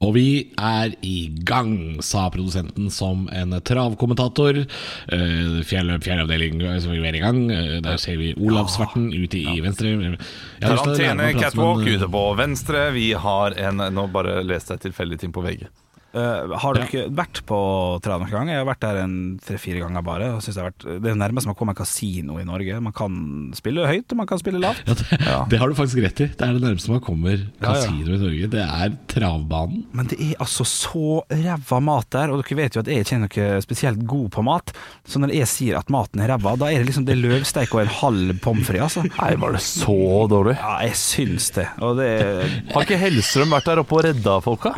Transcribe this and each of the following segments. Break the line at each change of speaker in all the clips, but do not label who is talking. Og vi er i gang, sa produsenten som en travkommentator. Eh, Fjell, fjellavdeling eh, som vi er i gang. Eh, Der ser vi Olav Svarten ute i venstre. Jeg har lyst til å lære
Tarantene,
meg å prate som
catwalk
en, eh,
ute på venstre. Vi har en Nå bare leste jeg tilfeldige ting på VG.
Eh, har dere ikke vært på Træna noen gang? Jeg har vært der en tre-fire ganger bare. Og synes det, har vært, det er nærmest man kommer kasino i Norge. Man kan spille høyt, og man kan spille lavt.
Ja, det, det har du faktisk rett i. Det er det nærmeste man kommer kasino i Norge. Det er travbanen.
Men det er altså så ræva mat der, og dere vet jo at jeg ikke er noe spesielt god på mat. Så når jeg sier at maten er ræva, da er det liksom det er løvsteik og en halv pommes frites, altså.
Nei, var det så dårlig?
Ja, jeg syns det. Og det er-
Har ikke Hellstrøm vært der oppe og redda folka?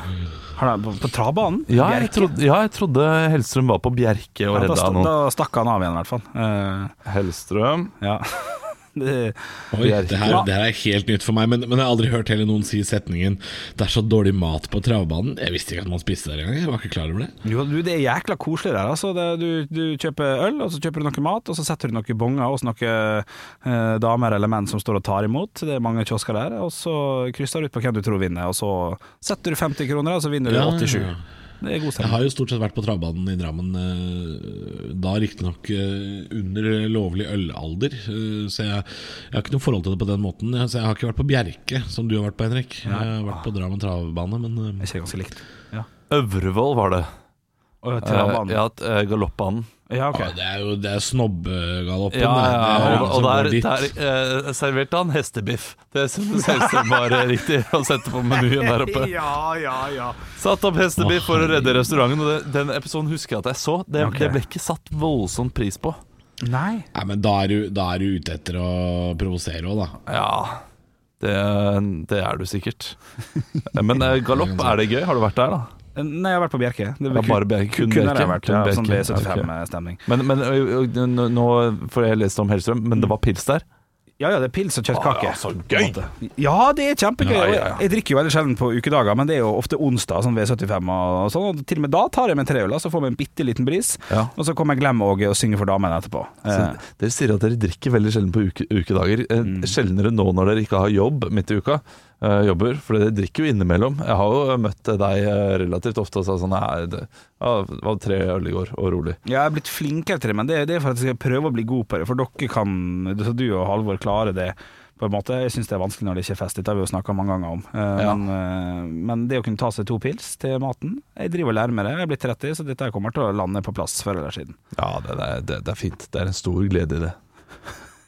Har du på, på travbanen?
Ja,
Bjerke?
jeg trodde, ja, jeg trodde Hellstrøm var på Bjerke og
Ja, da,
redda
sta-
noen.
da stakk han av igjen, i hvert fall. Eh,
Hellstrøm
ja. Det-
Oi,
Bjerke.
det her, det her er helt nytt for meg, men, men jeg har aldri hørt heller noen si setningen 'Det er så dårlig mat på travbanen'. Jeg visste ikke at man spiste der engang. Jeg var ikke klar over det.
Jo, du, det er jækla koselig der. Altså. Det, du, du kjøper øl, og så kjøper du noe mat, og så setter du noen bonger hos noen eh, damer eller menn som står og tar imot. Det er mange kiosker der. Og så krysser du ut på hvem du tror vinner, og så setter du 50 kroner, og så vinner du
Ja,
87.
ja, ja.
Det er god
Jeg
stemning.
har jo stort sett vært på travbanen i Drammen, eh, da riktignok eh, under lovlig ølalder, eh, så jeg, jeg har ikke noe forhold til det på den måten. Jeg, så jeg har ikke vært på Bjerke, som du har vært på, Henrik. Jeg har vært på Drammen travbane, men
Det
eh,
er ikke ganske likt. Ja.
Øvrevoll var det.
Og
Eh,
travbanen.
ja, t- eh, Galoppbanen.
ja,
ja,
ok.
ah, det er jo det er snobbegaloppen.
Ja,
det.
ja,
Det er
Eh, og,
alle som
og der,
går dit.
der eh, serverte han hestebiff. Det syntes Hellstrøm var eh, riktig å sette på menyen der oppe.
Ja, ja, ja.
Satt opp hestebiff for å redde restauranten, og det, den episoden husker jeg at jeg så. Det,
Ok.
det ble ikke satt voldsomt pris på.
Nei.
Nei, men da er, du, da er du ute etter å provosere òg, da.
Ja, det, det er du sikkert. Men eh, galopp, er det gøy? Har du vært der, da?
Nei, jeg har vært på Bjerke. Det
Ja, bare Bjerke. Kun
kunne
Bjerke.
jeg vært.
Kun
Ja,
Bjerke.
sånn
Ja,
B75-stemning.
Men, men ø, ø, n- nå, for jeg leste om Hellstrøm, men det var pils der?
Ja, ja, det er pils og
Ah, Ja,
kjøttkake.
så gøy!
Ja, det er kjempegøy.
Ja,
og
ja, ja.
Jeg drikker jo veldig sjelden på ukedager, men det er jo ofte onsdag, sånn ved 75 og sånn. Og til og med da tar jeg meg en treøl, så får vi en bitte liten bris,
Ja.
og så kommer Glem-Åge og synger for damene etterpå.
Så
Eh,
dere sier at dere drikker veldig sjelden på uke, ukedager. Eh, Sjeldnere nå når dere ikke har jobb midt i uka. eh, jobber, For dere drikker jo innimellom. Jeg har jo møtt deg eh, relativt ofte og sa sånn Nei, det ja, det var tre øl i går, og rolig.
jeg er blitt flinkere til det, men det, det er for at jeg skal prøve å bli god på det, for dere kan, så du og Halvor klarer det. På en måte, Jeg syns det er vanskelig når det ikke er fest, dette har vi jo snakka mange ganger om. Eh,
Ja.
men, eh, men det å kunne ta seg to pils til maten Jeg driver og lærer meg det, jeg er blitt 30, så dette her kommer til å lande på plass før eller siden.
Ja, det, det, er- det, det er fint. Det er en stor glede i det.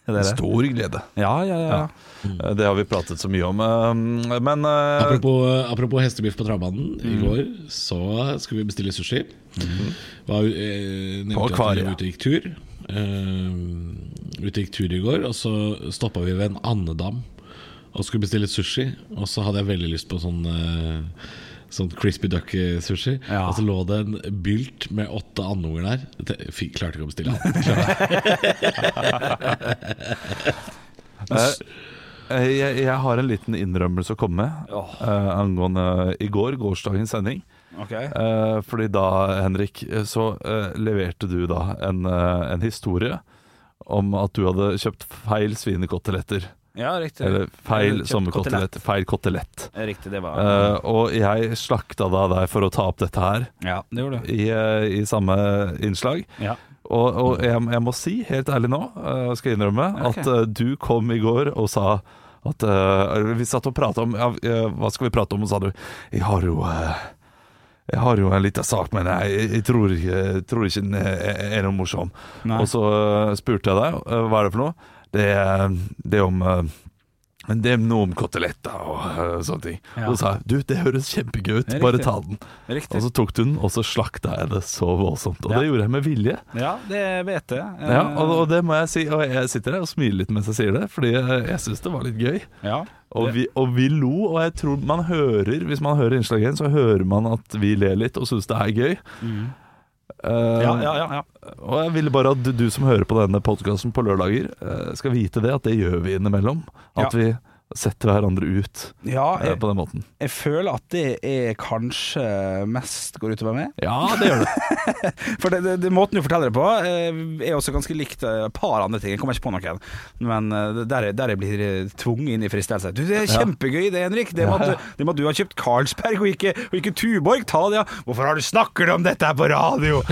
Er det
En
det?
stor glede.
Ja, ja, ja.
Ja. Eh, Det har vi pratet så mye om. eh, Men eh,
Apropos, apropos hestebiff på travbanen.
Mm.
I går så skulle vi bestille sushi. Var, eh, nevnte
Mhm. På
at vi
akvariet.
var Ute og gikk tur. Eh, ute og gikk tur i går, og så stoppa vi ved en andedam og skulle bestille sushi. Og så hadde jeg veldig lyst på sånn eh, Sånn crispy duck-sushi.
Ja.
Og så lå det en bylt med åtte andunger der. Det- fy, Klarte ikke å bestille den.
eh, eh, jeg, jeg har en liten innrømmelse å komme med
Åh.
eh, angående i går, gårsdagens sending.
Ok.
Eh, Fordi da, Henrik, eh, så eh, leverte du da en, eh, en historie om at du hadde kjøpt feil svinekoteletter.
Ja, riktig.
Eller
Eller
feil
kjøpt
sommerkotelett. Feil kotelett.
Riktig, det var
Eh, og jeg slakta da deg for å ta opp dette her
Ja, det gjorde du.
i, eh, i samme innslag.
Ja.
Og, og jeg, jeg må si, helt ærlig nå, eh, skal jeg innrømme,
Ok.
at eh, du kom i går og sa at eh, Vi satt og prata om ja, eh, Hva skal vi prate om? Og sa du Jeg har jo eh, jeg har jo en liten sak, men jeg, jeg, tror, ikke- jeg tror ikke den er, er noe morsom.
Nei.
Og så eh, spurte jeg deg eh, hva er det for noe. Det er, det er om eh, Det er noe om koteletter og eh, sånne ting.
Ja.
Og så sa jeg du, det høres kjempegøy ut,
Det er
bare
riktig.
ta den.
Riktig.
Og så tok du den, og så slakta jeg det så voldsomt. Og
Ja.
det gjorde jeg med vilje.
ja, det vet jeg. Eh,
Ja, og, og det må jeg si, og jeg sitter der og smiler litt mens jeg sier det, fordi jeg, jeg syns det var litt gøy.
ja.
Og vi, og vi lo, og jeg tror man hører Hvis man hører innslaget igjen, så hører man at vi ler litt og syns det er gøy. Eh,
Mm. Ja, ja, ja, ja.
Og jeg ville bare at du, du som hører på denne podkasten på lørdager, eh, skal vite det, at det gjør vi innimellom. At
Ja.
vi setter hverandre ut
Ja,
eh,
jeg,
på den måten.
jeg føler at det er kanskje mest går utover meg.
Ja, det gjør det.
For det, det, det måten du forteller det på, eh, er også ganske likt eh, et par andre ting. Jeg kommer ikke på noen. Men eh, der, jeg- der jeg blir eh, tvunget inn i fristelse. Du, det er kjempegøy det, Henrik. Det med at, du- det med at du har kjøpt Carlsberg og ikke, og ikke Tuborg. Ta det, ja. Hvorfor har du snakker du om dette her på radio?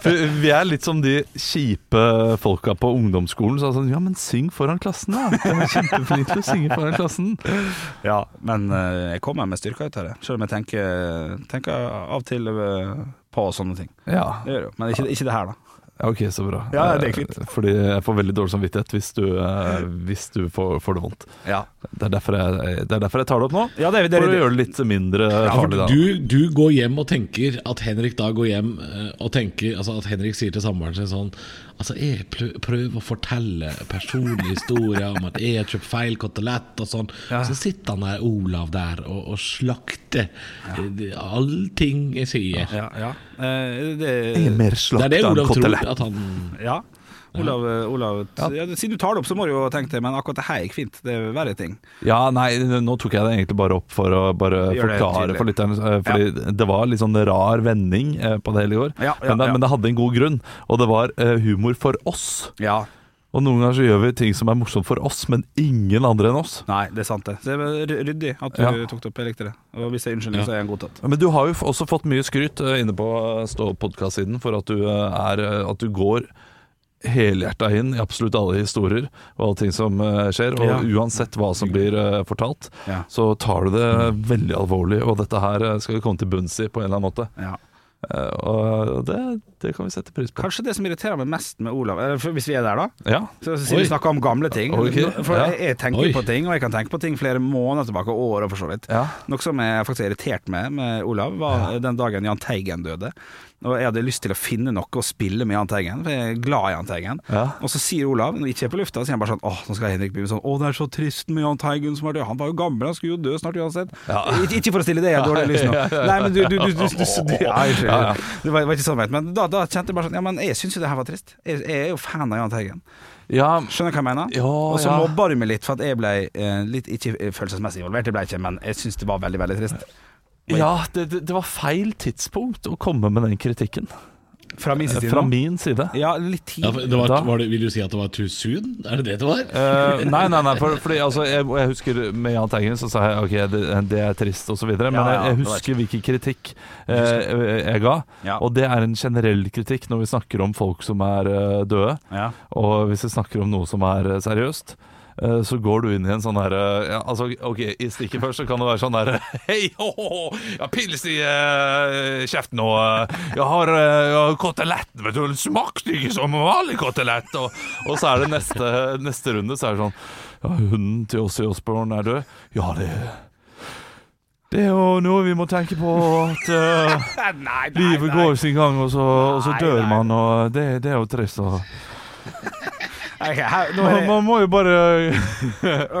For vi er litt som de kjipe folka på ungdomsskolen som er sånn Ja, men syng foran klassen, da. Du er kjempeflink til å synge foran klassen.
Ja, men eh, jeg kommer med styrka ut av det. Selv om jeg tenker, tenker av og til eh, på sånne ting.
Ja,
Det gjør jeg jo. Men ikke, ikke det her, da.
Ja, ok, så bra.
Ja, det er kvitt.
Eh, Fordi jeg får veldig dårlig samvittighet hvis du, eh, hvis du får, får det vondt.
Ja,
Det er derfor jeg, eh, det er derfor jeg tar det opp nå.
Ja, det er- det er-
for å gjøre det litt mindre farlig, da.
Du, du går hjem og tenker at Henrik da går hjem eh, og tenker Altså at Henrik sier til samboeren sin sånn Altså, jeg prø- prøver å fortelle personlige historier om at jeg har kjøpt feil kotelett og sånn. Så sitter han der, Olav der og, og slakter ja. allting jeg sier.
ja, ja. Eh, det,
Ingen mer
Det er det
slakt av
Olav tror.
kotelett.
At han
ja. Olav, eh, Olav ja.
Ja.
siden du tar det opp, så må du jo tenke det, men akkurat det her gikk fint. Det er verre ting.
Ja, nei, nå tok jeg det egentlig bare opp for å bare
Gjør det
forklare
tydelig.
for lytteren. eh, Fordi det var litt sånn rar vending eh, på det hele i går.
Ja, ja,
men, det,
ja.
men det hadde en god grunn, og det var eh, humor for oss.
Ja.
Og noen ganger så gjør vi ting som er morsomt for oss, men ingen andre enn oss.
Nei, det er sant, det. Så det var ry- Ryddig at du
Ja.
tok det opp. Jeg likte det. Og hvis jeg er unnskyldning,
Ja.
så er jeg en godtatt.
Men du har jo f- også fått mye skryt eh, inne på eh, Stå podkast-siden for at du, eh, er, eh, at du går helhjerta inn i absolutt alle historier og alle ting som eh, skjer. Og
Ja.
uansett hva som blir eh, fortalt,
Ja.
så tar du det eh, veldig alvorlig. Og dette her eh, skal vi komme til bunns i på en eller annen måte.
Ja.
Eh, Og det, det kan vi sette pris på.
Kanskje det som irriterer meg mest med Olav, eh, for hvis vi er der, da
Ja,
Så Siden
Oi.
vi snakker om gamle ting
Ok,
nå- For
ja.
jeg, jeg tenker
Oi.
på ting, og jeg kan tenke på ting flere måneder tilbake, og år og for så vidt.
ja.
Noe som jeg faktisk er irritert med med Olav, var den dagen Jahn Teigen døde. Og jeg hadde lyst til å finne noe å spille med Jahn Teigen, for jeg er glad i Jahn Teigen.
Ja.
Og så sier Olav, når vi ikke er på lufta, så sier han bare sånn Åh, nå skal Henrik begynne sånn Å, det er så trist med Jahn Teigen som er død. Han var jo gammel, han skulle jo dø snart uansett. Ik ikke for å stille det, jeg har dårlig lyst nå. Nei, men du, du, du, du, du, du, Nei, unnskyld.
Ja, ja.
Det var, var ikke sånn ment. Men da, da kjente jeg bare sånn Ja, men jeg syns jo det her var trist. Jeg, jeg er jo fan av Jahn Teigen.
ja.
Skjønner du hva jeg mener?
Ja,
og så
ja.
mobba du meg litt for at jeg ble eh, litt ikke eh, følelsesmessig involvert. Det ble jeg ikke, men jeg syns det var veldig, veldig trist.
ja det, det- det var feil tidspunkt å komme med den kritikken.
Fra min side.
Fra min side.
Ja, litt tid.
ja, for det var,
Da-
var det, Vil du si at det var too soon? Er det det det var?
Eh, nei, nei, nei, for, fordi altså, jeg, jeg husker med Jahn Teigen så sa jeg ok, det, det er trist og så videre, men
Ja, ja,
jeg, jeg
det
husker hvilken kritikk eh, jeg, jeg ga.
Ja.
Og det er en generell kritikk når vi snakker om folk som er eh, døde,
Ja.
og hvis vi snakker om noe som er eh, seriøst. eh, Så går du inn i en sånn herre ja, altså, Ok, i stikket først så kan det være sånn herre Hei, ho, ho, ho, jeg har pils i eh, kjeften, og eh, jeg har, eh, jeg har kotelett Vet du, det smakte ikke som vanlig kotelett! Og, og så er det neste, neste runde, så er det sånn Ja, hunden til oss i Osborne er død. Ja, det Det er jo noe vi må tenke på, at eh,
Nei, nei,
livet går sin gang, og så, og så
Nei,
dør
nei.
man, og det, det er jo trist. Og.
Ok, her, nå
Man,
er,
man må jo bare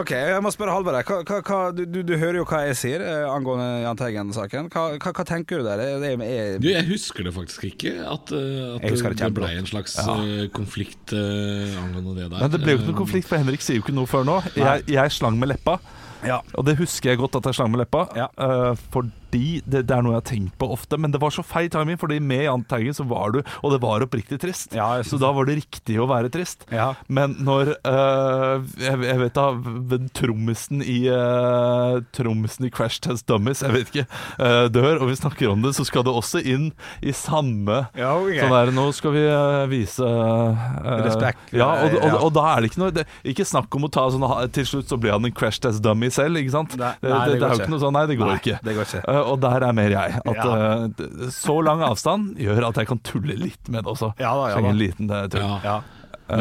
ok, jeg må spørre Halvard. her. Hva, hva, hva, du, du, du hører jo hva jeg sier eh, angående Jahn Teigen-saken. Hva, hva, hva tenker du der? Er det- er-
Du, jeg husker det faktisk ikke. At, eh, at
Jeg husker
det,
det
ble
kjempegodt.
en slags eh, konflikt eh, angående det der.
Men det ble jo ikke
Eh,
noen konflikt, for Henrik sier jo ikke noe før nå. Jeg, jeg slang med leppa,
ja.
og det husker jeg godt at jeg slang med leppa.
Ja.
eh, fordi det, det er noe jeg har tenkt på ofte, men det var så feil timing, fordi med Jahn Teigen så var du Og det var oppriktig trist,
Ja, jeg synes
så da var det riktig å være trist.
Ja.
Men når eh, jeg, jeg vet da ved Trommisen i eh, Trommisen i Crash Test Dummies, jeg vet ikke, eh, dør, og vi snakker om det, så skal det også inn i samme
Ja, ok.
Sånn der, nå skal vi eh, vise eh,
Respekt.
Ja, og, og,
Ja.
og da er det ikke noe det, Ikke snakk om å ta sånn ha- Til slutt så blir han en crash test dummy selv, ikke sant?
Nei,
det,
nei,
det,
det går
er jo
ikke.
ikke noe sånn Nei, det går
Nei,
ikke.
det går ikke.
Eh, og der er mer jeg. At
Ja.
eh, d- så lang avstand gjør at jeg kan tulle litt med det også.
Ja da, ja
Slenge
da.
en liten eh, tull.
ja.
Ja.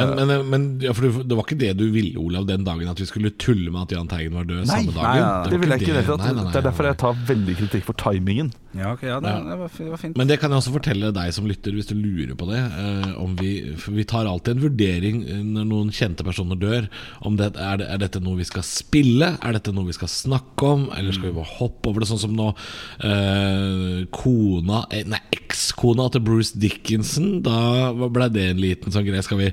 Men, men, men ja, for du- det var ikke det du ville, Olav, den dagen at vi skulle tulle med at Jan Teigen var død
Nei,
samme dagen?
nei,
var
det vil jeg ikke. Det,
Nei, nei, nei,
det er derfor jeg tar veldig kritikk for timingen.
Ja, ok, ja, det,
Ja.
det, var, fi- det var fint.
Men det kan jeg også fortelle deg som lytter, hvis du lurer på det. eh, om vi, for vi tar alltid en vurdering eh, når noen kjente personer dør. Om det, er, det, er dette noe vi skal spille? Er dette noe vi skal snakke om? Eller skal vi bare hoppe over det? Sånn som nå eh, kona eh, Nei, ekskona til Bruce Dickinson. Da ble det en liten sånn greie. Skal vi,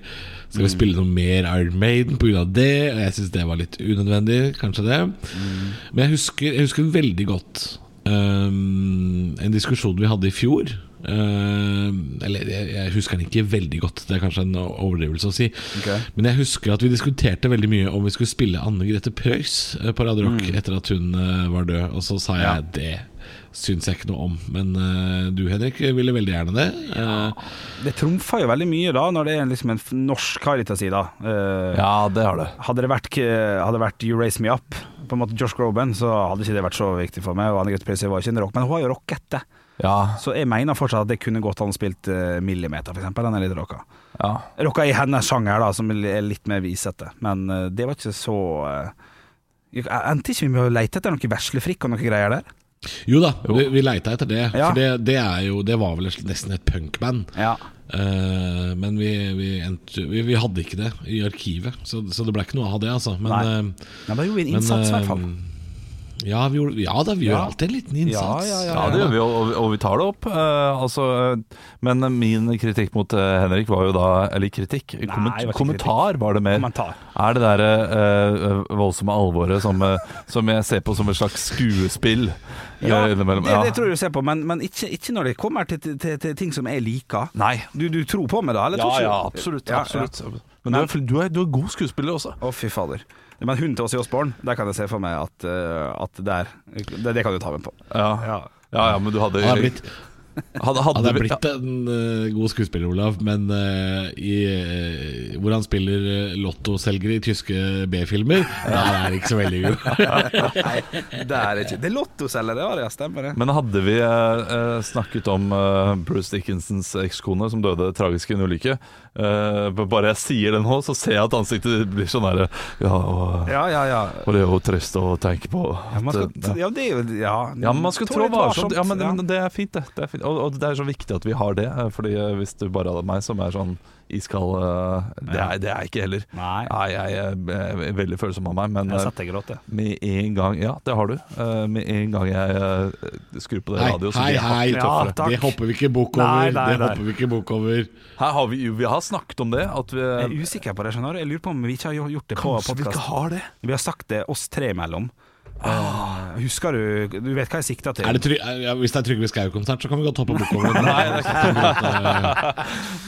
skal vi spille noe mer Iron Maiden pga. det? Og jeg syns det var litt unødvendig, kanskje det. Men jeg husker, jeg husker veldig godt Ehm, en diskusjon vi hadde i fjor ehm, Eller jeg, jeg husker den ikke veldig godt, det er kanskje en overdrivelse å si.
Ok.
Men jeg husker at vi diskuterte veldig mye om vi skulle spille Anne Grete Preus eh, på Radio Rock
Mm.
etter at hun eh, var død, og så sa jeg det. Syns jeg ikke noe om, men eh, du Henrik ville veldig gjerne det. Eh,
Det trumfa jo veldig mye da, når det er liksom en f- norsk Caritas-side. Eh,
Ja, det har det.
Hadde det vært, k- hadde det vært You Raise Me Up, på en måte Josh Groban, så hadde ikke det vært så viktig for meg. Og Anne Grete Preusser var ikke en rock, men hun har jo rocket det.
Ja,
Så jeg mener fortsatt at det kunne godt han spilt eh, Millimeter, for eksempel. Den er litt rocka.
ja.
Rocka i hennes sjanger, da, som er litt mer visete. Men eh, det var ikke så eh, jeg- Endte ikke vi med å leite etter noe veslefrikk og noe greier der?
jo da, vi, vi leita etter det.
Ja.
For det, det, er jo, det var vel nesten et punkband.
Ja.
Eh, men vi, vi, endte, vi, vi hadde ikke det i arkivet, så, så det ble ikke noe av det. Altså. Men,
Nei.
eh,
Men da gjorde vi en
men,
innsats, i
eh,
hvert fall.
ja, vi gjorde, ja da, vi
Ja.
gjør alltid en liten innsats.
Ja,
ja det gjør vi, og, og vi tar det opp. eh, altså, eh, men min kritikk mot eh, Henrik var jo da Eller kritikk? komment-
det var ikke
kommentar var det mer.
Kommentar.
Er det derre eh, voldsomme alvoret som, eh, som jeg ser på som et slags skuespill? eh,
Ja, det,
innimellom?
det tror jeg du ser på, men, men ikke, ikke når det kommer til, til, til ting som jeg liker.
Nei.
Du, du tror på meg, da? Eller
Ja,
tror ikke du?
ja, absolutt.
Ja, ja.
absolutt. Men du er, du, er, du er god skuespiller også.
Å, fy fader. Men hunden til oss i Åsborn, der kan jeg se for meg at, eh, at der, det, det kan du ta med på.
Ja, ja, ja men du hadde
Han er blitt, han
hadde, hadde,
er blitt en eh, god skuespiller, Olav, men eh, i, eh, hvor han spiller eh, lottoselgere i tyske B-filmer, der er det ikke så veldig god.
Det er ikke Det er lottoselgere, ja, det stemmer det.
Men hadde vi eh, eh, snakket om eh, Bruce Dickinsons ekskone som døde tragisk i en ulykke eh, Bare jeg sier det nå, så ser jeg at ansiktet ditt blir sånn herre ja, og,
Ja, ja, ja.
og det er jo trist å tenke på.
Ja, man skal,
at, eh, ja.
ja, det er jo Ja,
Ja, men man skal
Tål
trå
litt
varsomt. Ja, men,
ja.
men det er fint, det. det er fint. Og, og det er så viktig at vi har det. eh, Fordi eh, hvis du bare hadde meg som er sånn iskald eh, Det er det er jeg ikke heller.
Nei.
jeg er, eh, veldig følsom av meg, men
Jeg har
eh,
sett deg gråte.
med en gang Ja, det har du. Eh, med en gang jeg eh, skrur på det
Hei,
radioen, så
hei,
blir jeg
hei.
hakket tøffere.
takk.
det hopper vi ikke bukk over.
Nei, nei,
det
nei.
hopper vi ikke bukk over.
Her har vi, vi har snakket om det. At vi,
Jeg er usikker på det, skjønner du. Jeg lurer på om vi ikke har jo- gjort det på
kanskje vi
podkast.
ikke har det.
Vi har sagt det oss tre imellom.
Ah.
Eh, husker du Du vet hva jeg sikter til?
Er det tryg, ja, hvis det er Trygve Skau-konsert, så kan vi godt hoppe bukk over. Nei, det er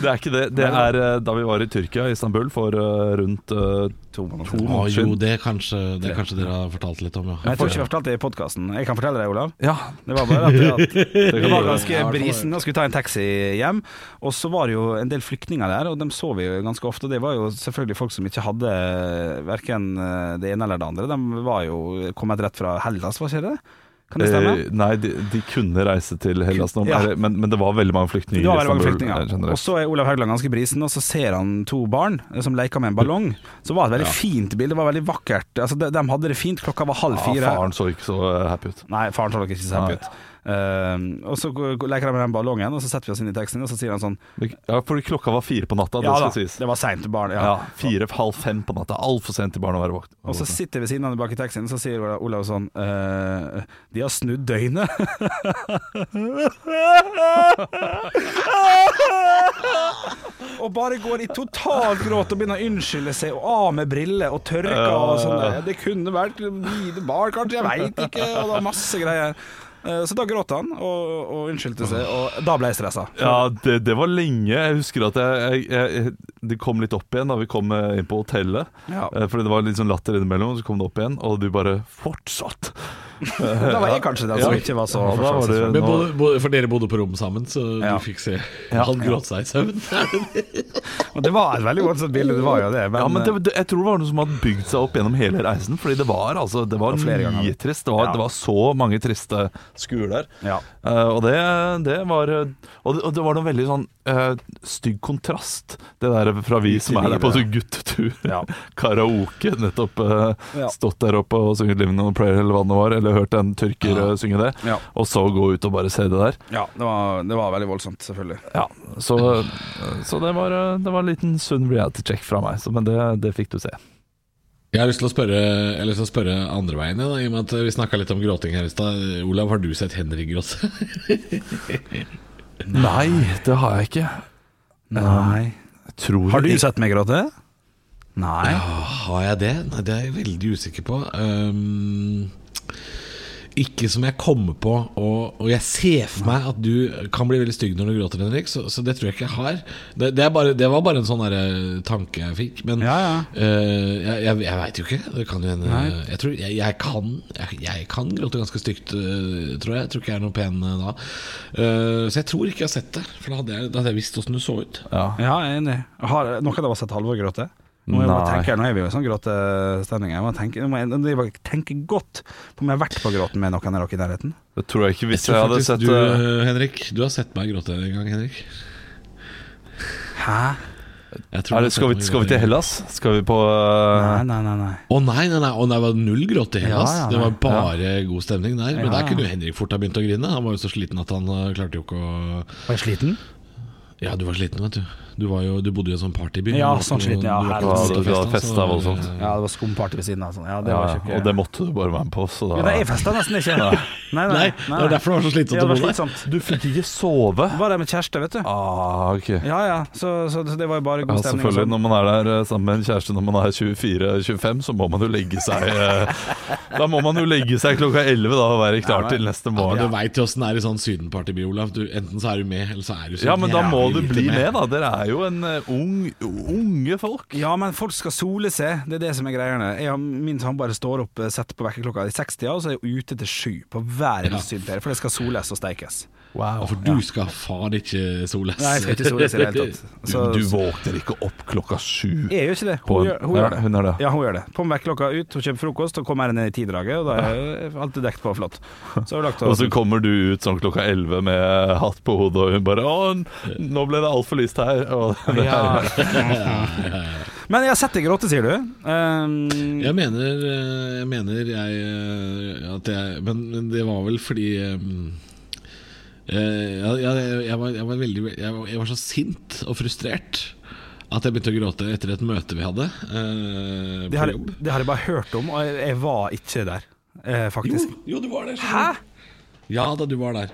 Det er ikke det. Det er eh, da vi var i Tyrkia, Istanbul, for eh, rundt eh,
to måneder.
Å,
to måneder
jo,
siden.
det kanskje, det kanskje dere har fortalt litt om,
Jeg
ja.
tror ikke vi har fortalt det i podkasten. Jeg kan fortelle deg, Olav.
Ja,
Det var bare at, at
det
det var
kan du.
ganske brisen. Da skulle vi ta en taxi hjem, og så var det jo en del flyktninger der, og dem så vi jo ganske ofte. Det var jo selvfølgelig folk som ikke hadde verken det ene eller det andre. De var jo kommet rett fra Hellas, var ikke det? Kan det stemme?
Eh, nei, de, de kunne reise til Hellas nå,
Ja.
eller- men, men det var veldig mange flyktninger.
Det var veldig
i
mange
Istanbul, eh,
flyktninger.
generelt.
Og så er Olav Haugland ganske brisen, og så ser han to barn eh, som leker med en ballong. Så var det et veldig fint bilde, det var veldig vakkert. Altså, de, de hadde det fint, klokka var halv fire.
Ja, Ah, faren så ikke så eh, happy ut.
Nei, faren så nok ikke så happy ut. Eh, og så går- leker de med den ballongen, og så setter vi oss inn i teksten, og så sier han sånn
Ja, fordi klokka var fire på natta,
Ja da,
det skal sies.
det var seint til barn. Ja.
Ja, Fire-halv fem på natta. Altfor sent til barn å være våkne.
Og så sitter vi ved siden av bak i taxien, og så sier Ola- Olav sånn eh, De har snudd døgnet. og bare går i totalgråt og begynner å unnskylde seg, og av med briller og tørker og sånn. der. Det kunne vært lite barn, kanskje, jeg veit ikke, og det var masse greier. Eh, Så da gråt han og, og unnskyldte seg, og da ble jeg stressa.
Ja, det, det var lenge. Jeg husker at jeg, jeg, jeg, det kom litt opp igjen da vi kom eh, inn på hotellet.
Ja.
Eh, Fordi det var litt sånn latter innimellom, og så kom det opp igjen, og du bare fortsatt.
Da var jeg kanskje den som
Ja.
ikke var så
Ja, da var det-
Men
nå-
bodde, bodde, for dere bodde på rom sammen, så
Ja.
du fikk se.
Ja.
Han gråt seg i søvn.
Og det var et veldig voldsomt bilde, det var jo det. Men, eh,
Ja, men det, det, jeg tror det var noe som hadde bygd seg opp gjennom hele reisen. Fordi det var altså Det var
Det var flere ganger.
mye trist. Det var,
Ja.
det var så mange triste skuer der.
Ja.
Eh, og det, det var eh, og det, og det var noe veldig sånn eh, stygg kontrast, det der fra vi
Ut i
som er der på
livet.
sånn guttetur.
Ja.
Karaoke, nettopp eh,
Ja.
stått der oppe og sunget 'Living on a Prayer' eller hva det nå var. Eller ville hørt en tyrker
Ja.
eh, synge det,
Ja.
og så gå ut og bare se det der.
Ja, det var, det var veldig voldsomt, selvfølgelig.
Ja, Så, eh, så det, var, eh, det var en liten sunn reality check fra meg, så, men det, det fikk du se.
Jeg har lyst til å spørre, jeg har lyst til å spørre andre veien, ja, da, i og med at vi snakka litt om gråting her i stad. Olav, har du sett Henrik gråte?
Nei, det har jeg ikke.
Nei.
Tror
Har du
jeg-
sett meg gråte? Nei.
Ah, Har jeg det? Nei, det er jeg veldig usikker på. Ehm, ikke som jeg kommer på, og, og jeg ser for meg at du kan bli veldig stygg når du gråter, Henrik, så, så det tror jeg ikke jeg har. Det, det, er bare, det var bare en sånn derre tanke jeg fikk, men
Ja, ja.
eh, jeg, jeg, jeg veit jo ikke. Det kan jo hende
Nei.
jeg, tror, jeg, jeg, kan, jeg, jeg kan gråte ganske stygt, eh, tror jeg. Jeg tror ikke jeg er noe pen eh, da. Eh, så jeg tror ikke jeg har sett det, for da hadde jeg, da hadde jeg visst åssen du så ut.
Ja.
Ja, jeg er enig. Har noen av oss sett Halvor gråte? Nå, må jeg bare
Nei.
tenke, her, nå er vi jo i sånn gråtestemning. Jeg må tenke, nå må jeg, nå må jeg bare tenke godt på om jeg har vært på gråten med noen av dere i nærheten.
Det tror jeg ikke hvis jeg,
tror
hadde
faktisk
sett
du,
eh,
eh, Henrik, du har sett meg gråte en gang, Henrik.
Hæ?
Jeg tror
er det,
du har sett
skal, vi,
meg
skal vi
gråte
til
en gang.
Hellas? Skal vi på eh,
Nei, nei, nei. nei.
Å nei, nei, nei, å, nei, det var null gråt i Hellas.
Ja, ja,
det var
nei,
bare god stemning der. Men
Ja,
der
ja.
kunne jo Henrik fort ha begynt å grine. Han var jo så sliten at han eh, klarte jo ikke å
Var jeg sliten?
Ja, du var sliten, vet du. Du, var jo, du bodde i en sånn partyby.
Ja,
Du var
sånn
ikke noe-
sliten, ja,
du var altså. ikke
Du
noe
helvete.
hadde- du
sikkefest,
hadde
da,
festa
så-
voldsomt.
Ja, det var skumparty ved siden av. Sånn. Ja, det
Ja,
var ikke
og det måtte du bare være med på, så da
ja, Nei, jeg festa nesten ikke. Nei,
Nei, det var derfor det var så slitsomt å
Ja, det
bo
var
der.
slitsomt.
Du fikk ikke sove?
Var der med kjæreste, vet du.
Ah, ok ja,
Ja ja, så, så så det var jo bare god stemning. og
selvfølgelig.
sånn.
Når man er der eh, sammen med en kjæreste når man er 24-25, så må man jo legge seg eh, Da må man jo legge seg klokka 11 da og være klar
Ja,
til neste
Ja, men
morgen.
Du veit jo åssen det er i sånn sydenpartyby, Olaf. Du, enten så er du med, eller så er du så
Ja, men da må
jævlig
du
lite
bli med, da. Dere er jo en eh, ung, unge folk.
Ja, men folk skal sole seg. Det er det som er greiene. Jeg og min samboer står opp, eh, setter på vekkerklokka i 60 og så er jeg ute til sju på hver eneste sydenferie, for det skal soles og steikes.
Ja,
Altså,
for du skal faen ikke soles.
Nei, jeg skal ikke soles i det hele tatt. Så,
Du våkner ikke opp klokka sju.
jeg gjør ikke det.
På
Hun,
en-
gjør, hun
Ja,
gjør det.
hun gjør det.
Ja, hun gjør det. På med vekkerklokka ut, hun kjøper frokost og kommer her ned i tidraget, og da er jeg alltid dekt på og flott. Så har hun lagt
Og så kommer du ut sånn klokka 11 med hatt på hodet, og hun bare 'Å, nå ble det altfor lyst her'. Og det er
Ja. Men jeg har sett deg gråte, sier du. Um,
Jeg mener, eh, jeg mener jeg, eh, at jeg Men men det var vel fordi eh, eh, jeg, jeg, jeg, var, jeg var veldig jeg var, jeg var så sint og frustrert at jeg begynte å gråte etter et møte vi hadde eh,
det,
på
har, jeg-
jobb.
det har jeg bare hørt om, og jeg, jeg var ikke der, eh,
Jo,
faktisk.
jo, du var der. skjønner
Hæ?
du. Ja da, du var der.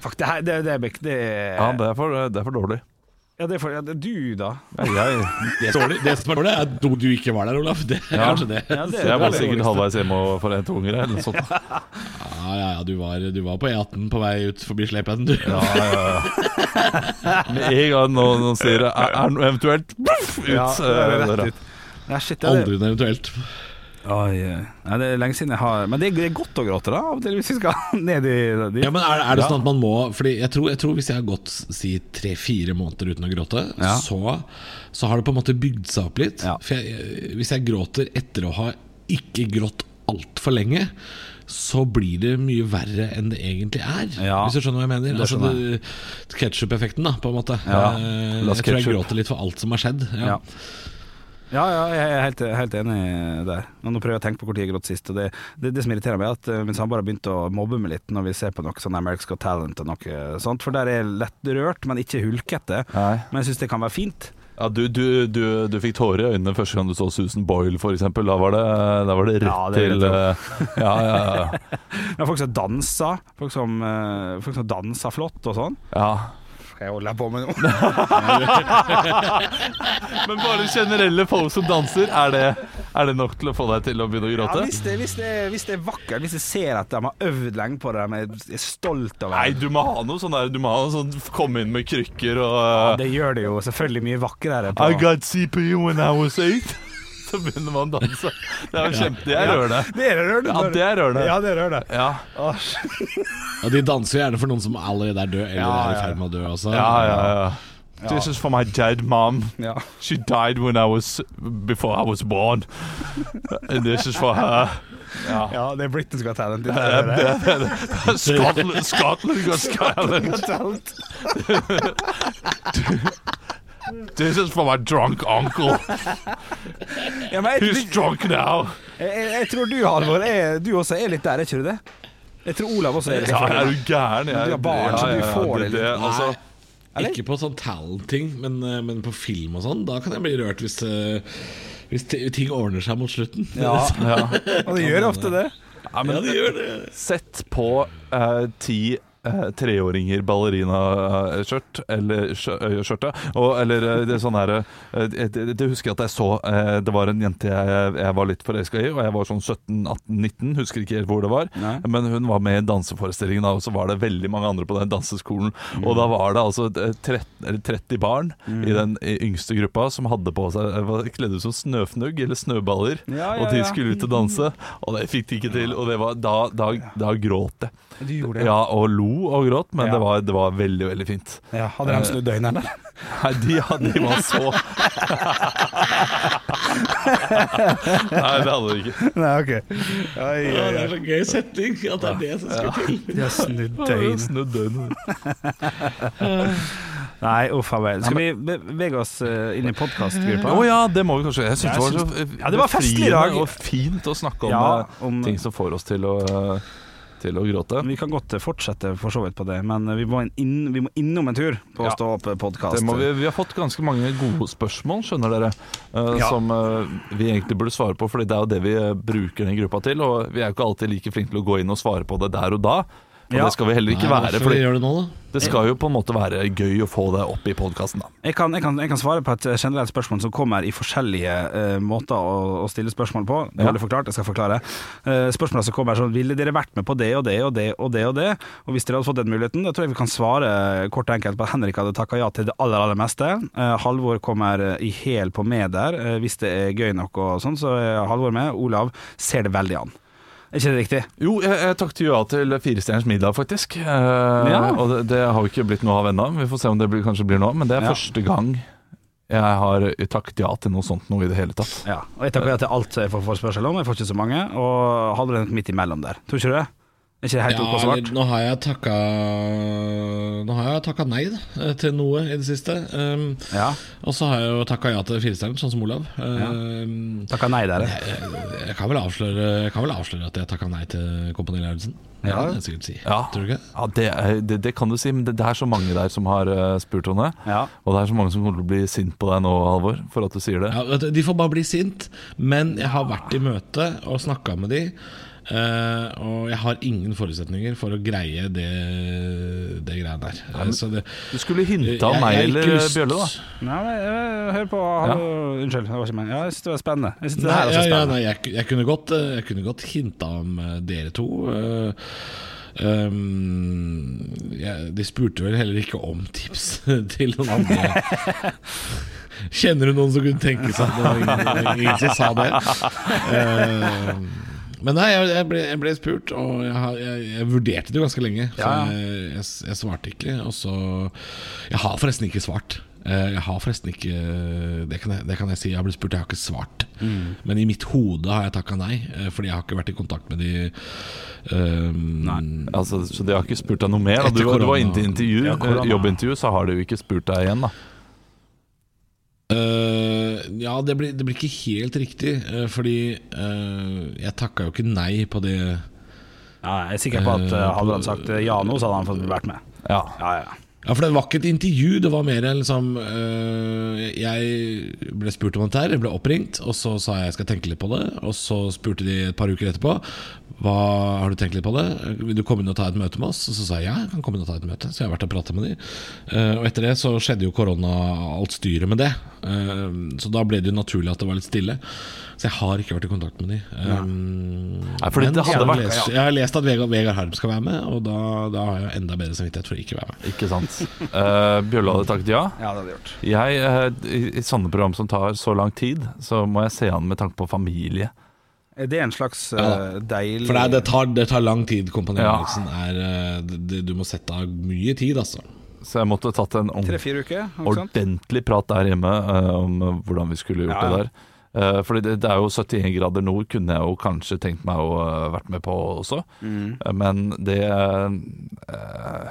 Fuck, det, her, det, det, er bek- det,
Ja, det er for, det er for dårlig.
Ja, det er for, ja, det er du, da.
Det som er dårlig, det som er dårlig, er at du- du ikke var der, Olaf. Det er kanskje det.
Ja, det er
Jeg var
det
sikkert
dårligste.
halvveis hjemme og forente unger eller noe sånt.
Ja, ja, ja, du var, du var på E18 på vei ut forbi Slepen, du.
Med en gang noen, noen sier det, er, er noe eventuelt Puff, ut.
Ja, det er
eh,
rett
døra.
ut. Nei, shit, det er,
Aldri noe eventuelt.
Oi, eh. Nei, det er lenge siden jeg har Men det er, det er godt å gråte, da, av og til hvis vi skal ned i dit.
Ja, men er, er det sånn at man må Fordi jeg tror, jeg tror hvis jeg har gått si tre-fire måneder uten å gråte,
Ja.
så, så har det på en måte bygd seg opp litt.
Ja.
For jeg, eh, hvis jeg gråter etter å ha ikke grått altfor lenge, så blir det mye verre enn det egentlig er.
Ja.
Hvis du skjønner hva jeg mener? Altså,
skjønner
det- Ketchup-effekten, da, på en måte.
Ja.
Eh,
La oss
Jeg tror jeg
ketchup.
gråter litt for alt som har skjedd.
Ja. Ja, ja, jeg er helt, helt enig der. Men nå prøver jeg å tenke på når jeg gråt sist. Og det, det, det som irriterer meg, er at eh, min samboer har begynt å mobbe meg litt når vi ser på noe sånn America's Got Talent og noe sånt, for der er jeg lett rørt, men ikke hulkete.
Nei.
Men jeg syns det kan være fint.
Ja, du, du, du, du fikk tårer i øynene første gang du så Susan Boyle, for eksempel. Da var det, da var det rett
Ja, det vil jeg
til eh, Ja, ja, ja.
Men folk som danser, folk som, eh, folk som danser flott og sånn.
ja.
Skal jeg holde på med noe?
Men bare generelle folk som danser, er det, er det nok til å få deg til å begynne å
Ja,
gråte?
hvis, det, hvis, det, hvis det er vakkert, hvis jeg ser at de har øvd lenge på det, de er- er stolt over
Nei,
det.
du må ha noe sånn der Du må ha noe sånn komme inn med krykker og eh,
Det gjør det jo selvfølgelig mye vakrere. På.
I got CPU when I was eight. Så begynner man å danse. Det er jo kjempe... Det er rørende.
Det er rørende.
Ja, det er rørende.
Ja, det er rørende.
Ja,
Å, shit.
Og de danser jo gjerne for noen som allerede er død, eller er
Ja,
i
ja, ja.
ferd med å dø også.
ja, ja. ja. Um, This is for my dead mom.
Ja.
She died when I was before I was born. And this is for her.
ja, det er Britain's Got Talent. Det
Det
er
er-
det.
det er- det er- Scotland, Scotland got Scotland.
Talent.
This is for my drunk uncle.
Ja, men jeg,
He's drunk now.
Jeg, jeg, jeg tror du, Halvor, er- du også er litt der, er ikke du det? Jeg tror Olav også er litt
Ja, er
der.
du gæren? Jeg,
Du har barn, så du får det
det,
litt.
altså,
Eller?
Ikke på sånn talent-ting, men, eh, men på film og sånn. Da kan jeg bli rørt hvis, eh, hvis ti- ting ordner seg mot slutten.
Ja,
ja.
og det gjør ofte det.
Ja, men
ja, det gjør det.
Sett på eh, ti eh, treåringer ballerinaskjørt eller skjø- ø, skjørte. Og, eller eh, det er sånn her eh, det, det- det husker jeg at jeg så eh, Det var en jente jeg, jeg var litt forelska i, og jeg var sånn 17-18-19, husker ikke helt hvor det var.
Nei.
Men hun var med i danseforestillingen, da, og så var det veldig mange andre på den danseskolen. Og da var det altså eh, 13, eller 30 barn i den yngste gruppa som hadde på seg eh, var- kledd ut som snøfnugg eller snøballer,
Ja, ja,
og de
ja.
skulle ut og danse, og det fikk de ikke til. Og det var, da, da, da gråt jeg.
Du gjorde det.
Ja, og lo og gråt, men
Ja.
det, var, det var veldig, veldig fint.
Ja, hadde de snudd øynene?
Nei, de, ja, de var så Nei, det hadde de ikke.
Nei, OK. Oi,
Ja, det er så gøy setning at det er det som skal til.
De har snudd
Snudd døgnet.
Nei, uff a meg. Skal vi be- bevege oss eh, inn i
Å
podkastgruppa?
Mm. ja, det må vi kanskje. Jeg syns
Jeg
det var
syns-
så
Ja, det var festlig i dag.
befriende og fint å snakke om
Ja,
eh,
om-
ting som får oss til å, eh, til å gråte.
Vi kan godt eh, fortsette for så vidt på det, men eh, vi må, inn, vi må innom en tur på
Ja.
å Stå eh, opp-podkast.
Det må vi, vi har fått ganske mange gode spørsmål, skjønner dere, eh,
Ja.
som eh, vi egentlig burde svare på. Fordi det er jo det vi eh, bruker den gruppa til, og vi er jo ikke alltid like flinke til å gå inn og svare på det der og da. Og
Ja.
det skal vi heller ikke
Nei,
være,
hvorfor
for
vi gjør det nå, da?
det skal jo på en måte være gøy å få det opp i podkasten, da.
Jeg kan, jeg, kan, jeg kan svare på et eh, generelt spørsmål som kommer i forskjellige eh, måter å, å stille spørsmål på. Det
Ja.
har du forklart, jeg skal forklare. Uh, spørsmålet som kommer er sånn Ville dere vært med på det og det og det og det og det? Og hvis dere hadde fått den muligheten, da tror jeg vi kan svare eh, kort og enkelt på at Henrik hadde takka ja til det aller, aller meste. Eh, Halvor kommer eh, i hæl på med der, eh, hvis det er gøy nok og sånn, så er Halvor med. Olav ser det veldig an. Er ikke det riktig?
Jo, jeg, jeg takket jo ja til Firestjerners middag, faktisk. Eh, Og det, det har jo ikke blitt noe av ennå. Vi får se om det blir, kanskje blir noe av, men det er
Ja.
første gang jeg har takket ja til noe sånt noe i det hele tatt.
Ja. Og jeg takker ja til alt jeg får forespørsel om, jeg får ikke så mange. Og Halvor er nok midt imellom der. Tror ikke du det? Er ikke det helt
Ja,
ok å svart?
eller, nå har jeg takka Nå har jeg takka nei da, eh, til noe i det siste. Um,
Ja.
og så har jeg jo takka ja til firestjernen, sånn som Olav. Um,
Takka nei der, jeg.
jeg, jeg, kan vel avsløre, jeg kan vel avsløre at jeg takka nei til Kompani Lauritzen. Det
Ja.
kan jeg sikkert si.
Ja,
Tror du ikke?
ja det, er- det, det kan du si, men det, det er så mange der som har eh, spurt om det.
Ja.
Og det er så mange som kommer til å bli sint på deg nå, Halvor, for at du sier det.
Ja, vet du, de får bare bli sint, men jeg har vært i møte og snakka med de. eh, og jeg har ingen forutsetninger for å greie det, det greia der. Eh, så det,
Du skulle
jeg-
hinta
jeg
om meg
har ikke
eller
lyst-
Bjølle, da.
Nei, men, eh, hør på hallo- Unnskyld, det var ikke meningen. Ja, jeg synes det var spennende. Jeg synes det
Nei,
her er
ja,
så
ja,
spennende.
nei, jeg, ku- jeg, kunne godt, eh, jeg kunne godt hinta om eh, dere to. eh, ehm, jeg, de spurte vel heller ikke om tips til noen andre. Kjenner du noen som kunne tenke seg det? Det var Ingen, ingen som sa det. Ehm, men nei, jeg, jeg, ble, jeg ble spurt, og jeg, har- jeg, jeg vurderte det jo ganske lenge. Så
Ja, ja.
jeg, jeg, s- jeg svarte ikke. Og så Jeg har forresten ikke svart. Eh, Jeg har forresten ikke Det kan jeg, det kan jeg si. Jeg har blitt spurt, jeg har ikke svart.
Mm.
Men i mitt hode har jeg takka nei, eh, fordi jeg har ikke vært i kontakt med de ehm,
Altså, så de har ikke spurt deg noe mer. Da.
Etter
Du, var- du var inne til
korona.
intervju,
Ja, korona.
eh, jobbintervju, så har de jo ikke spurt deg igjen, da.
Eh, ja, det blir, det blir ikke helt riktig, eh, fordi eh, jeg takka jo ikke nei på det
Ja, jeg er sikker på at eh, hadde han sagt eh, ja nå, så hadde han fått vært med.
Ja.
Ja, ja.
Ja, for det var ikke et intervju, det var mer liksom øh, Jeg ble spurt om dette her, jeg ble oppringt, og så sa jeg jeg skal tenke litt på det. Og så spurte de et par uker etterpå Hva har du tenkt litt på det. Vil du komme inn og ta et møte med oss? Og så sa jeg ja, jeg kan komme inn og ta et møte. Så jeg har vært og prata med de. Eh, og etter det så skjedde jo korona, alt styret med det. Eh, så da ble det jo naturlig at det var litt stille. Så jeg har ikke vært i kontakt med de. Um,
Nei, fordi
men
det hadde
jeg, har
vært-
lest, jeg har lest at Vegard, Vegard Harm skal være med, og da, da har jeg enda bedre samvittighet for å ikke være med.
Ikke sant. Eh, Bjølle hadde takket ja.
ja, det hadde jeg gjort.
Jeg, eh, i, I sånne program som tar så lang tid, så må jeg se an med tanke på familie.
Er det en slags eh,
Ja.
deilig
For det, er- det, tar, det tar lang tid, Kompani
Ja.
Lauritzen. er, eh, det- det- Du må sette av mye tid, altså.
Så jeg måtte tatt en ordentlig
Tre-fire uker? ikke sant?
ordentlig prat der hjemme eh, om eh, hvordan vi skulle gjort
Ja, ja.
det der. Uh, fordi det, det er jo 71 grader nord, kunne jeg jo kanskje tenkt meg å eh, vært med på også. Eh, men det eh,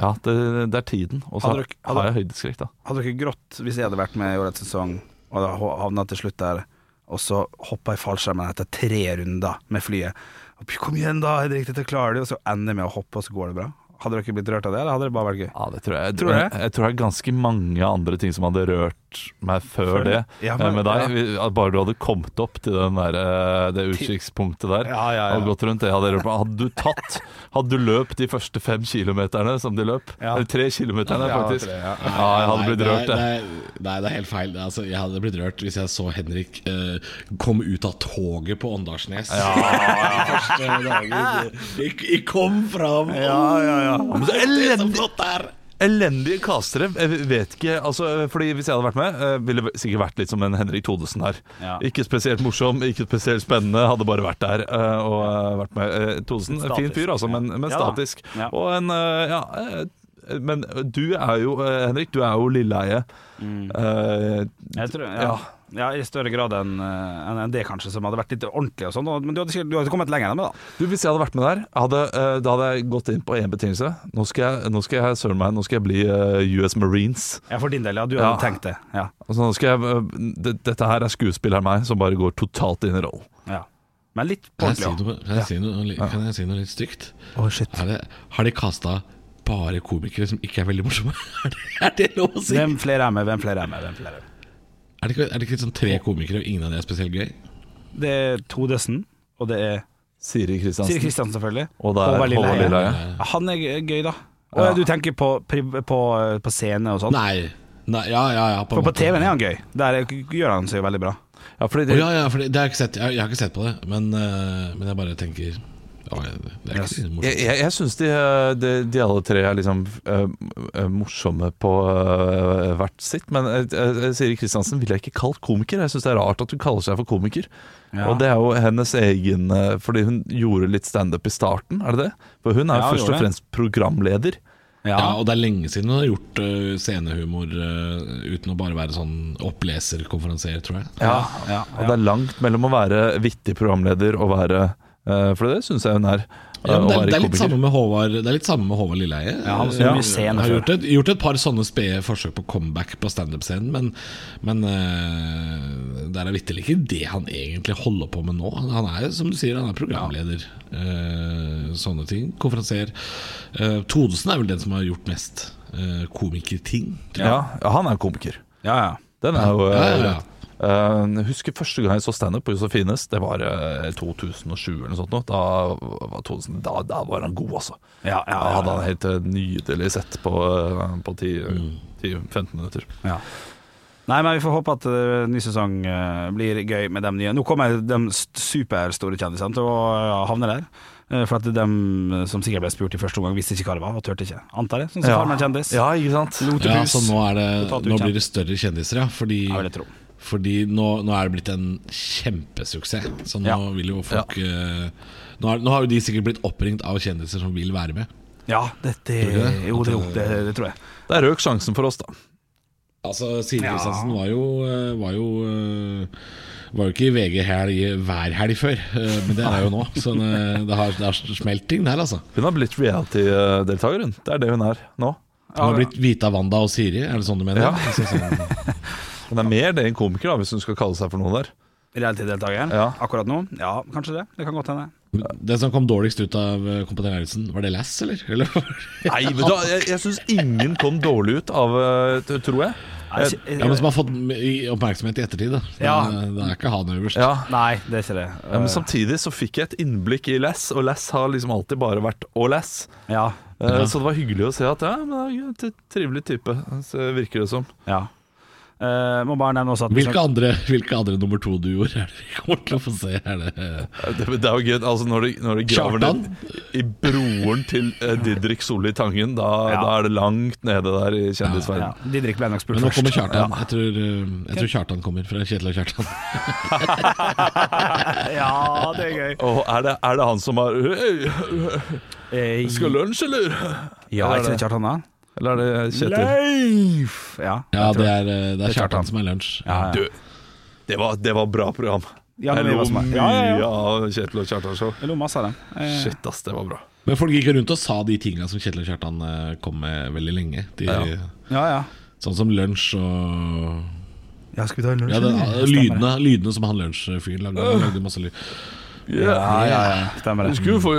Ja, det, det er tiden. Og så
Hadde du- hadde-
har jeg høydeskrekk, da.
Hadde dere grått hvis jeg hadde vært med i årets sesong og da ho- havna til slutt der og så hoppa jeg i fallskjermen etter tre runder med flyet. Og, Kom igjen, da, Henrik, dette klarer du. Og så ender jeg med å hoppe, og så går det bra. Hadde dere blitt rørt av det, eller hadde dere bare vært gøy?
Ja, det tror jeg. Jeg
Tror
tror,
du
jeg,
det?
tror det er ganske mange andre ting som hadde rørt meg før,
Før
det,
det? Ja,
eh,
men-
med deg.
ja.
Vi- At bare du hadde kommet opp til den der, eh, det utkikkspunktet der
Ja, ja, ja.
og gått rundt det, hadde, jeg rørt meg. hadde du tatt Hadde du løpt de første fem kilometerne som de løp?
Ja.
Eller tre kilometerne,
Ja,
faktisk.
tre,
Ja,
ja.
jeg hadde blitt
Nei,
rørt,
det.
jeg.
er- det er- Nei, det er helt feil. Altså, jeg hadde blitt rørt hvis jeg så Henrik eh, komme ut av toget på Åndalsnes. De første dagen. Jeg, jeg kom fram! Mm.
Men så
Det er så
elendig-
flott der!
Elendige castere. Jeg vet ikke altså, Fordi Hvis jeg hadde vært med, eh, ville det sikkert vært litt som en Henrik Thodesen her.
Ja.
Ikke spesielt morsom, ikke spesielt spennende. Hadde bare vært der eh, og eh, vært med. Eh, Thodesen,
Statisk.
fin fyr, altså, men, men
Ja da.
statisk.
Ja.
Og en eh, Ja. eh, Men du er jo, eh, Henrik, du er jo Lilleheie.
Mm.
Eh,
Jeg tror, ja.
Ja.
Ja. I større grad enn eh, enn- enn det, kanskje, som hadde vært litt ordentlig og sånn. og- Men du hadde, sikkert- du hadde kommet lenger enn meg, da.
Du, Hvis jeg hadde vært med der, hadde, eh, da hadde jeg gått inn på én betingelse. Nå skal jeg, nå skal jeg søren meg, nå skal jeg bli eh, US Marines.
Ja, for din del, ja. Du
Ja.
hadde tenkt det. Ja.
Altså, nå skal jeg, øh, det, dette her er skuespilleren meg som bare går totalt inn i rollen.
ja. Men litt på
Kan jeg, si
ordentlig,
noe, kan, jeg si noe, li- kan jeg si noe litt stygt?
ja. Å, shit.
Er det, har de kasta bare komikere som ikke er veldig morsomme? Er det, er det lov å si?
Hvem flere er med, hvem flere er med, hvem flere er med?
Er det ikke, er det ikke sånn tre komikere, og ingen av de er spesielt gøy?
Det er Todesen, og det er
Siri
Siri
Kristiansen.
Kristiansen, selvfølgelig.
Og det er Håvard
Lilleheie.
Lilleheie.
Han er gøy- gøy, da. Og
Ja.
Du tenker på, pri- på, på scene og sånn?
Nei. Nei, ja, ja, ja.
For på
en måte.
TV-en er han gøy. Der er- gjør han seg jo veldig bra.
Ja, fordi
Å,
det,
ja, ja, for det, det har jeg, ikke sett, jeg, jeg har ikke sett på det, men, eh, men jeg bare tenker ja, Det er ikke så
jeg,
morsomt.
jeg, jeg syns de, øh, de, de alle tre er liksom øh, øh, morsomme på øh, hvert sitt. Men øh, øh, Siri Kristiansen ville jeg ikke kalt komiker. Jeg syns det er rart at hun kaller seg for komiker.
Ja.
Og det er jo hennes egen øh, Fordi hun gjorde litt standup i starten, er det det? For hun er
Ja,
jo
hun
først
gjorde
og
det.
fremst programleder.
Ja, og det er lenge siden hun har gjort eh, scenehumor eh, uten å bare være sånn oppleserkonferansier, tror jeg.
Ja, ja,
Og det
ja.
er langt mellom å være vittig programleder og være øh, For det syns jeg hun er.
Ja, men
øh, å
det, er,
være
det, er litt
komiker.
samme med Håvard, det er litt samme med Håvard Lilleheie.
Ja, han
Eh,
som mye scene
har
før.
gjort et, gjort et par sånne spede forsøk på comeback på standup-scenen, men, men eh, det er vitterlig ikke det han egentlig holder på med nå. Han er som du sier, han er programleder. eh, sånne ting. Konferansier. Eh, Thodesen er vel den som har gjort mest eh, komikerting. tror jeg.
Ja, ja han er komiker.
ja, ja.
Den er jo
Ja, ja, ja.
eh, jeg husker første gang jeg så standup på Josefines. Det var eh, 2007 eller noe sånt. nå. Da, var Thodesen- da, da var han god, altså.
Ja, ja, ja,
Da
ja.
hadde han helt eh, nydelig sett på, eh, på
Mm.
10-15 minutter.
Ja. Nei, men vi får håpe at eh, ny sesong eh, blir gøy med de nye. Nå kommer de st- superstore kjendisene til å eh, havne der. Eh, for at de som sikkert ble spurt i første omgang, visste ikke hva det var, og turte ikke. Antar jeg. Sånn som
Ja.
Farmen kjendis.
Ja, ikke sant?
Ja,
Lotepus.
så nå, er det,
Potet
nå
ukjent.
blir det større kjendiser, ja. Fordi,
Ja, vil jeg tro.
fordi nå, nå er det blitt en kjempesuksess. Så nå
Ja.
vil jo folk eh, nå, har- nå har jo de sikkert blitt oppringt av kjendiser som vil være med.
Ja, det, det,
Tror du det?
jo, det, jo, det, det tror jeg.
Der røk sjansen for oss, da.
Altså, Siri
Ja.
Kristiansen var jo eh, Var jo eh, var jo ikke i VG helg hver helg før, eh, men det er det jo nå. Så det, det har, det har smelt ting der, altså.
Hun har blitt reality-deltaker, hun. Det er det hun er nå.
Hun har blitt Vita Wanda og Siri, er det sånn du mener?
Ja.
Altså, sånn,
Hun er mer det enn komiker, da, hvis hun skal kalle seg for noe der.
Reality-deltakeren
Ja.
akkurat nå? Ja, kanskje det. Det kan godt hende.
sånn- Den som kom dårligst ut av eh, Kompetent Lauritzen, var det Lass, eller? eller?
Nei, vet du, hva, jeg, jeg syns ingen kom dårlig ut av eh, t- Tror jeg.
Nei, ikke-
Ja, men som har fått i- oppmerksomhet i ettertid, da. Så
Ja.
det- Det er ikke han øverst.
Ja,
Nei, det er ikke det.
Ja, men samtidig så fikk jeg et innblikk i Lass, og Lass har liksom alltid bare vært å Lass.
Ja,
Eh, Så det var hyggelig å se at ja, men det er jo en trivelig type, så virker det som.
ja. Eh, må bare nevne også at
Hvilke andre, hvilke andre nummer to-duoer er det vi kommer til å få se? Er det
Det, det er jo gøy, altså når du, når du graver ned
Kjartan?
i broren til eh, Didrik Solli Tangen, da,
Ja.
da er det langt nede der i
ja,
kjendisverdenen.
Didrik ble nok spurt
Men nå kommer
først.
Kjartan. Jeg tror, eh, jeg tror Kjartan kommer fra Kjetil og Kjartan.
Ja, det er gøy.
Og er det, er det han som har «Hei,
Eh,
Skal lunsj, eller? Eller
Ja, er
er
ikke det
det-
Kjartan da?
Eller er det Kjetil?
Leif! Ja,
Ja,
jeg tror
det er, eh, det er
er Kjartan.
Kjartan som er lunsj.
Ja, ja.
Du, det var, det var bra program.
Ja, det
Jeg lo
var smart.
mye
Ja, ja, ja.
av Kjetil og Kjartan Show.
Jeg lo masse av den. Eh,
Shit, ass, det var bra.
Men folk gikk jo rundt og sa de tinga som Kjetil og Kjartan eh, kom med veldig lenge. De,
Ja.
Ja, ja.
Sånn som lunsj og
Ja, skal vi ta en lunsj?
Ja, det, eh,
eller? Stemmer
lydene, lydene som han lunsjfyren lagde. Han lagde masse lyd.
Ja, ja, ja, stemmer det.
Skulle få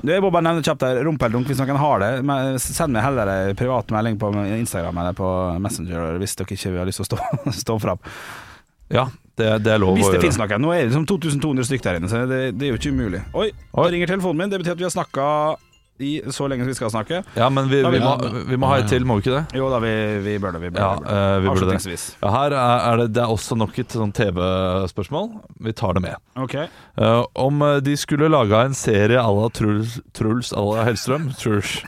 Du, jeg må bare nevne kjapt der, rumpeldunk hvis noen har det. Men send meg heller en privat melding på Instagram eller på Messenger hvis dere ikke har lyst til å stå, stå fram.
Ja, det, det er lov
Hvis
å
det
gjøre.
finnes noen. Nå er det liksom 2200 stykk der inne, så det, det er jo ikke umulig. Oi,
Oi.
da ringer telefonen min. Det betyr at vi har snakka i så lenge som vi skal snakke.
Ja, men vi,
Da
vi,
vil
må,
jeg-
vi må ha et til, må vi ikke det?
Jo da, vi, vi bør det. Vi bør
Ja,
det, vi bør det.
eh, vi burde det.
Avslutningsvis.
Ja, her er er det, det er også nok et sånn TV-spørsmål. Vi tar det med.
Ok.
Eh, om eh, de skulle laga en serie à la Truls, Truls à la Hellstrøm Truls.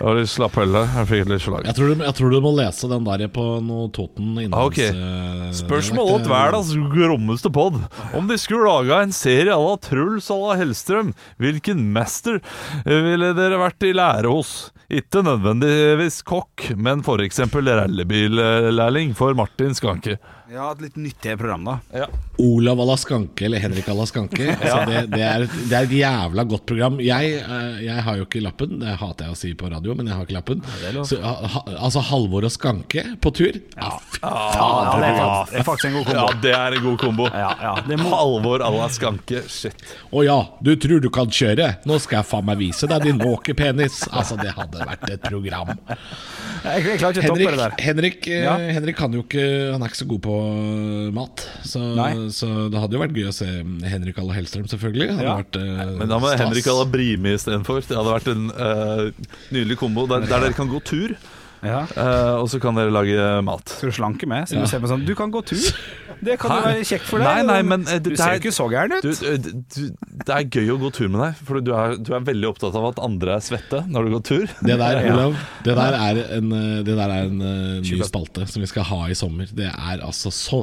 Det var litt slapp øl der. Jeg fikk litt slag.
Jeg tror, du, jeg tror du må lese den der på noe Toten
Ah, ok.
innlands, eh,
Spørsmål
dialekt.
åt verdens grommeste pod. Om de skulle laga en serie à la Truls à la Hellstrøm, hvilken mester ville dere vært i lære hos? Ikke nødvendigvis kokk, men f.eks. rallybillærling for Martin Skanke.
Ja, et litt nyttig program, da.
Olav à la Skanke eller Henrik à la Skanke. Altså, det, det, er, et- det er et jævla godt program. Jeg, eh, jeg har jo ikke lappen, det hater jeg å si på radio, men jeg har ikke lappen. Så, ha, ha- altså Halvor og Skanke på tur? Ah, Ja, fy
Ja,
faen.
det, er faktisk, det er faktisk en god kombo.
Ja, det er en god kombo.
Ja, ja, det må-
Alvor à la Skanke. Shit.
Å ja, du tror du kan kjøre? Nå skal jeg faen meg vise deg din måkepenis. Altså, det hadde vært et program.
Jeg, jeg klarer ikke å toppe det der.
Henrik, Henrik, eh,
Ja.
Henrik kan jo ikke Han er ikke så god på eh, mat, så,
Nei.
så det hadde jo vært gøy å se Henrik à la Hellstrøm, selvfølgelig. Hadde
Ja.
vært, eh,
Men da må
stas.
Henrik à la Brimi istedenfor. Det hadde vært en eh, nydelig kombo der, der dere kan gå tur,
Ja.
eh, og så kan dere lage mat.
Skal du slanke med? Skal du se på sånn Du kan gå tur. Det kan jo
Hæ?
være kjekt for deg.
Nei, nei, men, eh,
du
det er-
ser jo ikke så gæren ut.
Du, du, du, det er gøy å gå tur med deg, for du er, du er veldig opptatt av at andre er svette når du går tur.
Det der, Olav, det der er en, eh, det der er en eh, ny
Tjukkast.
spalte som vi skal ha i sommer. Det er altså so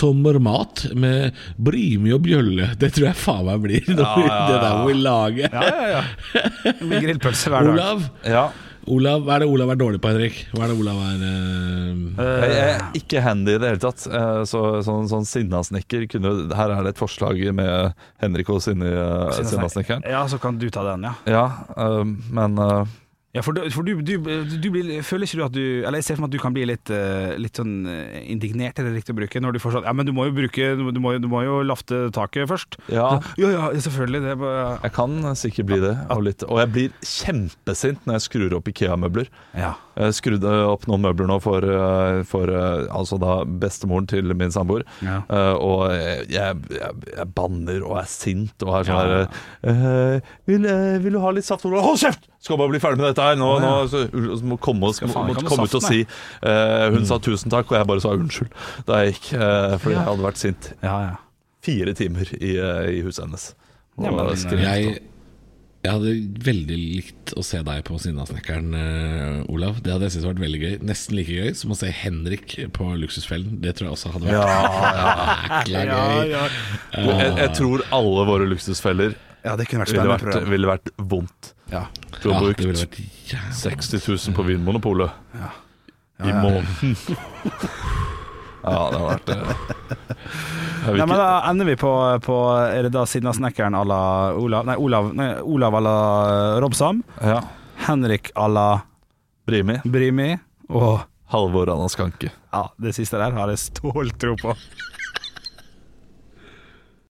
sommermat med Brimi og bjølle. Det tror jeg faen meg blir når vi-
ja,
det der
ja.
må vi lage.
Ja, ja, ja. Det blir grillpølse hver dag.
Olav,
Ja.
Olav, hva er det Olav er dårlig på, Henrik? Hva er det Olav er eh,
Jeg er ikke handy i det hele tatt. eh, Så, sånn sånn sinnasnekker kunne Her er det et forslag med Henrik og Sinni, eh, sinnasnekkeren.
Ja, så kan du ta den, ja.
Ja, eh, men eh,
ja for du, for du, du, du blir, føler ikke du at du Eller jeg ser for meg at du kan bli litt, eh, litt sånn eh, indignert, er det riktig å bruke, når du får sånn Ja, men du må jo bruke Du må, du må jo lafte taket først.
ja.
Ja, ja, selvfølgelig. Det er bare
Jeg kan sikkert bli det. Og, litt, og jeg blir kjempesint når jeg skrur opp Ikea-møbler.
Ja.
Jeg skrudde opp noen møbler nå for, eh, for eh, altså da bestemoren til min samboer.
Ja.
Eh, og jeg, jeg, jeg banner og er sint og er sånn
Ja.
her eh, vil, eh, vil du ha litt saft? Hold kjeft! Skal bare bli ferdig med dette her nå. nå så, og så må komme, oss-
faen
må,
ikke ha noe
komme ut og
saft,
si eh, Hun sa tusen takk, og jeg bare sa unnskyld da jeg gikk. eh, fordi jeg hadde vært sint
ja, ja.
fire timer i, eh, i huset hennes. Og
Ja, men, eh,
skrek
jeg, jeg hadde veldig likt å se deg på Sinnasnekkeren, eh, Olav. Det hadde jeg syntes vært veldig gøy. Nesten like gøy som å se Henrik på Luksusfellen. Det tror jeg også hadde vært jækla
Ja,
gøy.
ja.
Du, jeg,
eh,
jeg tror alle våre luksusfeller
ja, det kunne vært
ville
spennende.
vært, eh,
program.
ville vært vondt.
Ja.
Du har
Ja, det ville
brukt
vært jævlig
60 000 på Vinmonopolet i
ja.
måneden. Ja, det har vært det. Jeg vil
Nei, men
ikke,
da ender vi på, på Er det da Sinnasnekkeren à la Olav Nei, Olav, nei, Olav à la Robsam.
ja.
Henrik à la
Brimi,
Brimi. Og
Halvor Anna Skanke.
ja, det siste der har jeg ståltro på.